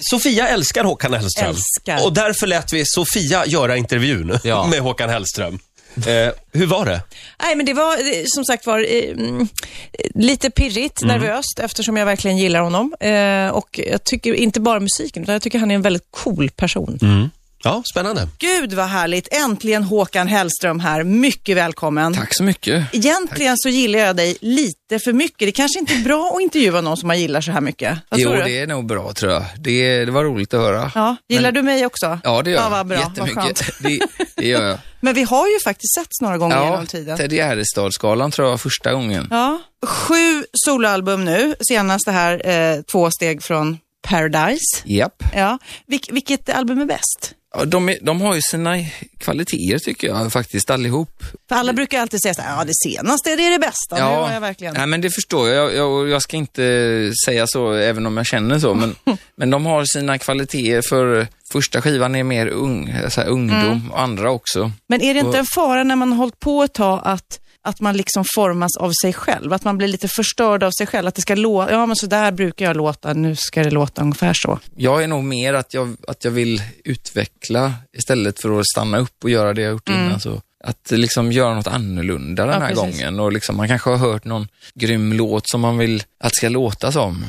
Sofia älskar Håkan Hellström. Älskar. Och därför lät vi Sofia göra intervjun Ja. med Håkan Hellström. Eh, hur var det? Nej, men det var eh, som sagt var eh, mm, lite pirrigt, Mm. nervöst, eftersom jag verkligen gillar honom. Eh, och jag tycker inte bara musiken, utan jag tycker han är en väldigt cool person. Mm. Ja, spännande. Gud vad härligt. Äntligen Håkan Hellström här. Mycket välkommen. Tack så mycket. Egentligen så gillar jag dig lite för mycket. Det kanske inte är bra att intervjua någon som man gillar så här mycket. Vad Jo, tror du? det är nog bra tror jag. Det, det var roligt att höra. Ja, Ja, gillar du mig också? det gör Ja, vad jag. bra. Vad skönt. Jättemycket. det, det gör jag. Men vi har ju faktiskt setts några gånger Ja, genom tiden. Teddy Gärdestad-skalan tror jag var första gången. Ja. Sju soloalbum nu, senast det här eh, Två steg från Paradise. Japp. Ja. Vilk, vilket album är bäst? Ja, de, är- de har ju sina kvaliteter tycker jag faktiskt allihop. För alla Mm. brukar alltid säga så här, ja det senaste det är det bästa. Nu har jag verkligen... Nej, men det förstår jag. Jag, jag. jag ska inte säga så, även om jag känner så. Men, men de har sina kvaliteter för första skivan är mer ung, så här, ungdom, Mm. och andra också. Men är det inte en fara när man har hållit på ett tag att, att man liksom formas av sig själv? Att man blir lite förstörd av sig själv? Att det ska låta, ja men så där brukar jag låta, nu ska det låta ungefär så. Jag är nog mer att jag, att jag vill utveckla istället för att stanna upp och göra det jag gjort innan. Så. Att liksom göra något annorlunda den Mm. Ja, här precis. gången. Och liksom, man kanske har hört någon grym låt som man vill att det ska låta som.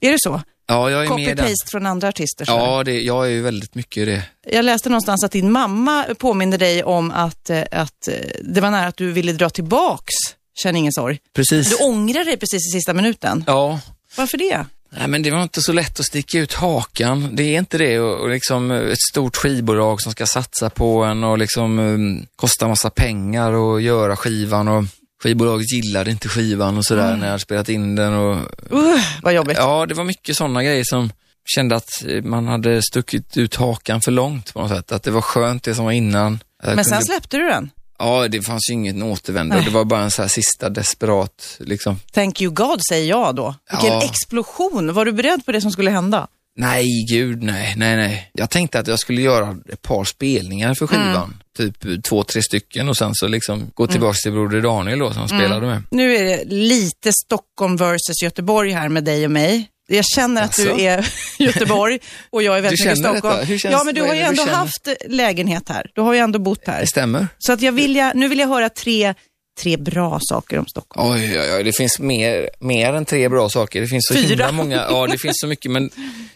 Är det så? Ja, jag är med i den. Mm. Copy-paste från andra artister? så här. Ja, det, jag är ju väldigt mycket i det. Jag läste någonstans att din mamma påminde dig om att, eh, att eh, det var nära att du ville dra tillbaks Känn ingen sorg. Precis. Du ångrar dig precis i sista minuten. Ja, Varför det? Nej, men det var inte så lätt att sticka ut hakan. Det är inte det. Och, och liksom eh, ett stort skivbolag som ska satsa på en och liksom um, kosta massa pengar och göra skivan och skivbolaget gillade inte skivan och Mm. sådär när jag hade spelat in den. Och, Uh, vad jobbigt. ja, det var mycket sådana grejer som kände att eh, man hade stuckit ut hakan för långt på något sätt. Att det var skönt det som var innan. Att jag Men sen kunde- släppte du den. Ja, det fanns ju ingen återvändo. Nej. Det var bara en så här sista desperat liksom, Thank you God säger jag då. Vilken Ja. explosion. Var du beredd på det som skulle hända? Nej, gud nej, nej, nej. Jag tänkte att jag skulle göra ett par spelningar för skivan. Typ två, tre stycken och sen så liksom gå tillbaks till Broder Daniel då som spelade med. Nu är det lite Stockholm versus Göteborg här med dig och mig. Jag känner att Jaså? du är Göteborg och jag är väldigt Du mycket känner Stockholm. detta? Hur känns- ja, men du vad har är ju det du ändå känner? haft lägenhet här. Du har ju ändå bott här. Det stämmer. Så att jag vill, jag, nu vill jag höra tre, tre bra saker om Stockholm. Oj, oj, oj, det finns mer, mer än tre bra saker. Det finns så himla många. Ja, det finns så mycket, men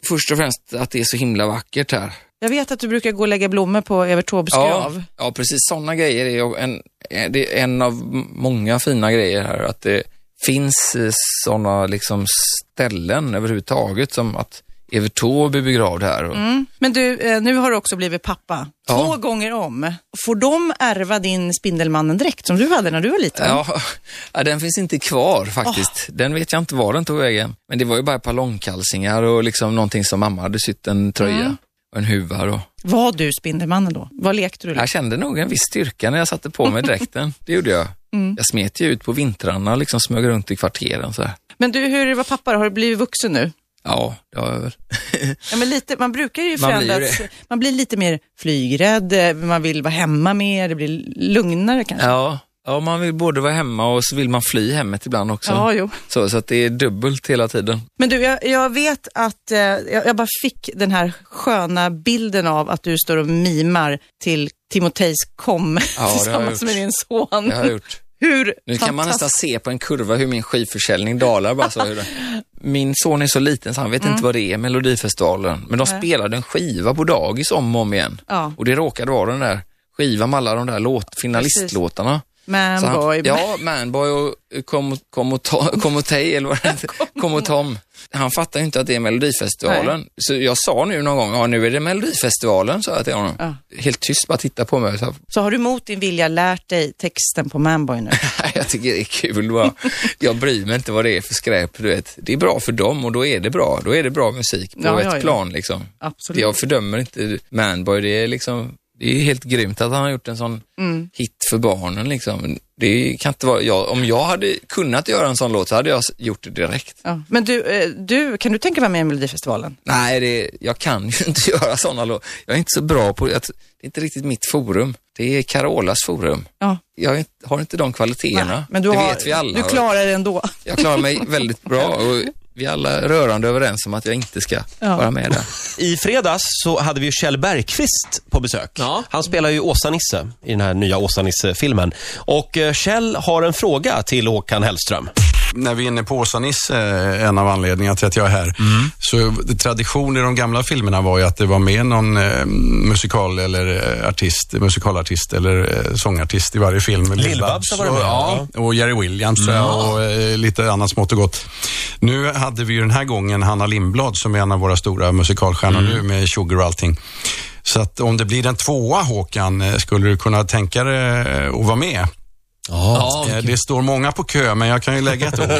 först och främst att det är så himla vackert här. Jag vet att du brukar gå och lägga blommor på Evert Taubes Ja, grav. ja, precis. Sådana grejer är ju en, eh, det är en av m- många fina grejer här. Att det finns sådana liksom ställen överhuvudtaget som att Evert Taube är begravd här. Och, Mm. Men du, eh, nu har du också blivit pappa. Ja. Två gånger om. Får de ärva din Spindelmannen-dräkt som du hade när du var liten? Ja, ja, den finns inte kvar faktiskt. Den vet jag inte var den tog vägen. Men det var ju bara ett par långkalsingar och liksom någonting som mamma hade sytt, en tröja och en huva. Och... Var du Spindelmannen då? Vad lekte du? Jag kände nog en viss styrka när jag satte på mig dräkten. Det gjorde jag. Jag smet ju ut på vintrarna och liksom smög runt i kvarteren så här. Men du, hur är det var pappa då? Har du blivit vuxen nu? Ja, det har jag väl. Ja, men lite, man brukar ju Man blir förändras. ju Man blir, lite mer flygrädd, eh, man vill vara hemma mer, det blir lugnare kanske. Ja, ja, man vill både vara hemma och så vill man fly hemmet ibland också. Ja, jo. Så, så att det är dubbelt hela tiden. Men du, jag, jag vet att eh, jag, jag bara fick den här sköna bilden av att du står och mimar till Timotejs kom det har jag tillsammans gjort. med din son. Det har jag gjort. Hur Nu kan man nästan se på en kurva hur min skivförsäljning dalar bara så. Hur det... Min son är så liten så han vet Mm. inte vad det är, Melodifestivalen. Men de spelade en skiva på dagis om och om igen. Ja. Och det råkade vara den där skivan med alla de där låt, finalistlåtarna. Så han- Manboy. Ja, Manboy och kom, kom, och ta, kom och Tej, eller vad det heter. Kom och Tom. Han fattar ju inte att det är Melodifestivalen. Så jag sa nu någon gång, ja nu är det Melodifestivalen, sa jag till honom. Helt tyst, bara titta på mig. Så, här, Så har du mot din vilja lärt dig texten på Manboy nu? "Nej, jag tycker det är kul bara. Jag bryr mig inte vad det är för skräp, du vet. Det är bra för dem och då är det bra. Då är det bra musik på Ja, ett ja, ja. plan liksom. Absolut. Jag fördömer inte Manboy, det är liksom det är ju helt grymt att han har gjort en sån Mm. hit för barnen liksom. Det kan inte vara, jag, om jag hade kunnat göra en sån låt så hade jag s- gjort det direkt. Ja. Men du, eh, du, kan du tänka vara med i Melodifestivalen? Nej, det, jag kan ju inte göra såna låtar. Jag är inte så bra på det. Det är inte riktigt mitt forum. Det är Carolas forum. Ja. Jag är inte- har inte de kvaliteterna. Men du det har, vet vi alla. Du klarar det ändå. Jag klarar mig väldigt bra och vi är alla rörande överens om att jag inte ska Ja. vara med där. I fredags så hade vi ju Kjell Bergqvist på besök. Ja. Han spelar ju Åsa-Nisse i den här nya Åsa-Nisse-filmen. Och eh, Kjell har en fråga till Håkan Hellström. när vi är inne på Åsa-Nisse, eh, en av anledningarna till att jag är här, Mm. så tradition i de gamla filmerna var ju att det var med någon eh, musikal eller eh, artist, musikalartist eller eh, sångartist i varje film. Lill-Babs har varit och, med, Mm. ja, och Jerry Williams tror jag, och eh, lite annat smått och gott. Nu hade vi ju den här gången Hanna Lindblad som är en av våra stora musikalstjärnor Mm. nu med Sugar och allting. Så att om det blir en tvåa Håkan, eh, skulle du kunna tänka dig eh, att vara med? Ja, Eh, Det står många på kö, men jag kan ju lägga ett ord.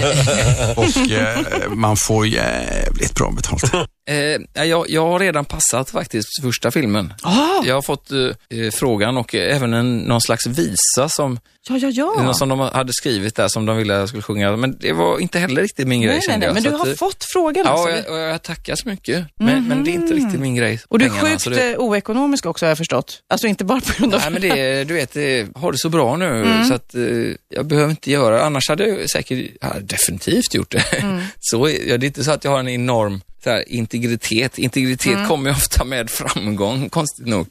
Och eh, man får jävligt bra betalt. Eh, nej, jag, jag har redan passat faktiskt första filmen. Ah! Jag har fått eh, eh, frågan och eh, även en, någon slags visa som, Ja, ja, ja. någon som de hade skrivit där som de ville att jag skulle sjunga. Men det var inte heller riktigt min grej Nej, nej, kände jag. nej, men du Så att, har eh, fått frågan alltså. Ja, och jag, och jag tackar så mycket. Men, men det är inte riktigt min grej. Mhm. Och du är pengarna, sjukt så det- eh, oekonomisk också har jag förstått. Alltså inte bara på grund av... Nej men det, du vet, det, har det så bra nu Mm. så att eh, jag behöver inte göra Annars hade jag säkert, jag hade definitivt gjort det. Mm. Så, är- ja, det är inte så att jag har en enorm så här, integritet. Integritet Mm. kommer ju ofta med framgång, konstigt nog.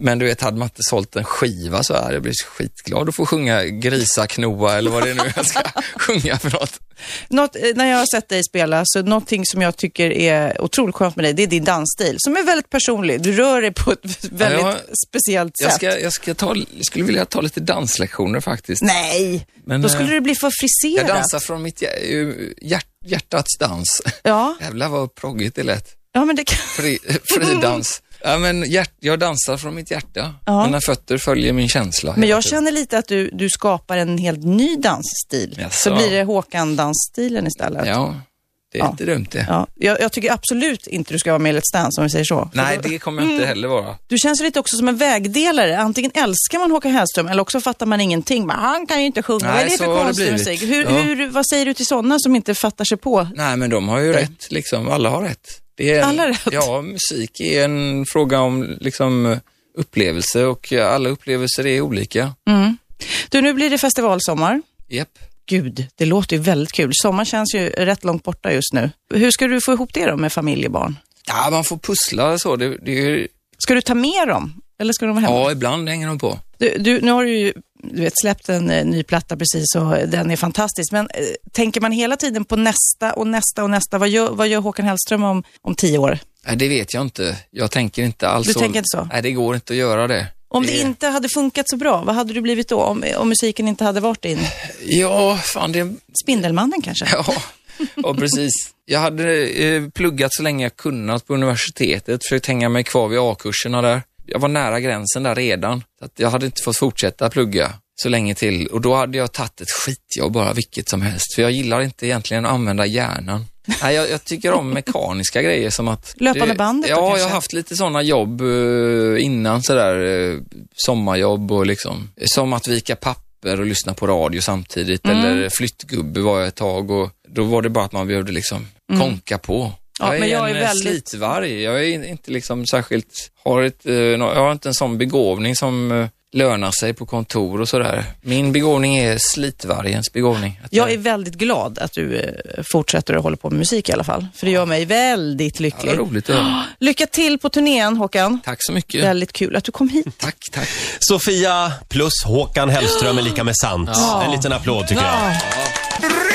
Men du vet, hade man inte sålt en skiva så här, jag blir skitglad att få sjunga grisaknoa eller vad det är nu jag ska sjunga för något. Något, eh, när jag har sett dig spela, så någonting som jag tycker är otroligt skönt med dig, det är din dansstil som är väldigt personlig. Du rör dig på ett väldigt jag- speciellt Jag, sätt. ska, jag ska ta, skulle vilja ta lite danslektioner faktiskt. Nej, Men, då skulle eh, du bli för jag friserad. dansar från mitt hjär- hjärt, hjärtats dans. Ja, Jävlar vad proggigt det lät. ja, men det kan... Fri, fridans. Ja, men hjärt, jag dansar från mitt hjärta. Ja. Mina fötter följer min känsla. Men hela jag tiden. känner lite att du, du skapar en helt ny dansstil. Jaså. Så blir det Håkan-dansstilen istället. Ja. Ja, det är Ja. inte dumt det. Jag, jag tycker absolut inte du ska vara med i Let's Dance om vi säger så. För Nej, då- det kommer Mm. jag inte heller vara. Du känns lite också som en vägdelare. Antingen älskar man Håkan Hellström eller också fattar man ingenting. Men han kan ju inte sjunga. Nej, vad är det för så har det konstig blivit. musik? Hur, Ja. hur, vad säger du till sådana som inte fattar sig på? Nej, men de har ju rätt, liksom. Alla har rätt. Det är en, Alla har rätt. Ja, musik är en fråga om liksom, upplevelse och alla upplevelser är Mm. olika. Du, nu blir det festivalsommar. Japp. Gud, det låter ju väldigt kul. Sommar känns ju rätt långt borta just nu. Hur ska du få ihop det då med familj och barn? Ja, man får pussla så. Det, det är, ju- Ska du ta med dem? Eller ska de vara hemma? ja, ibland hänger de på. Du, du, nu har du ju du vet, släppt en eh, ny platta precis och eh, den är fantastisk. Men eh, tänker man hela tiden på nästa och nästa och nästa? Vad gör, vad gör Håkan Hellström om, om tio år? Nej, det vet jag inte. Jag tänker inte alls Du så. tänker inte så? Nej, det går inte att göra det. Om det är- inte hade funkat så bra, vad hade du blivit då? Om, om musiken inte hade varit din? Ja, fan, det är en Spindelmannen kanske? Ja, ja precis. Jag hade eh, pluggat så länge jag kunnat på universitetet, försökt hänga mig kvar vid A-kurserna där. Jag var nära gränsen där redan. Så att jag hade inte fått fortsätta plugga så länge till och då hade jag tagit ett skitjobb bara, vilket som helst. För jag gillar inte egentligen att använda hjärnan. Nej, jag, jag tycker om mekaniska grejer som att... Löpande bandet då Ja, jag kanske? har haft lite sådana jobb eh, innan sådär, eh, sommarjobb och liksom. Som att vika papper och lyssna på radio samtidigt Mm. eller flyttgubbe var jag ett tag och då var det bara att man behövde liksom konka på. Mm. Ja, men jag en är eh, väldigt- slitvarg. Jag är in- inte liksom särskilt, har ett, eh, nå- jag har inte en sån begåvning som eh, lönar sig på kontor och sådär. Min begåvning är slitvargens begåvning. Att Jag är väldigt glad att du eh, fortsätter att hålla på med musik i alla fall. För det gör mig väldigt Ja, vad lycklig. roligt att höra. Lycka till på turnén Håkan. Tack så mycket. Väldigt kul att du kom hit. Tack, tack. Sofia plus Håkan Hellström är lika med sant. En liten applåd tycker jag.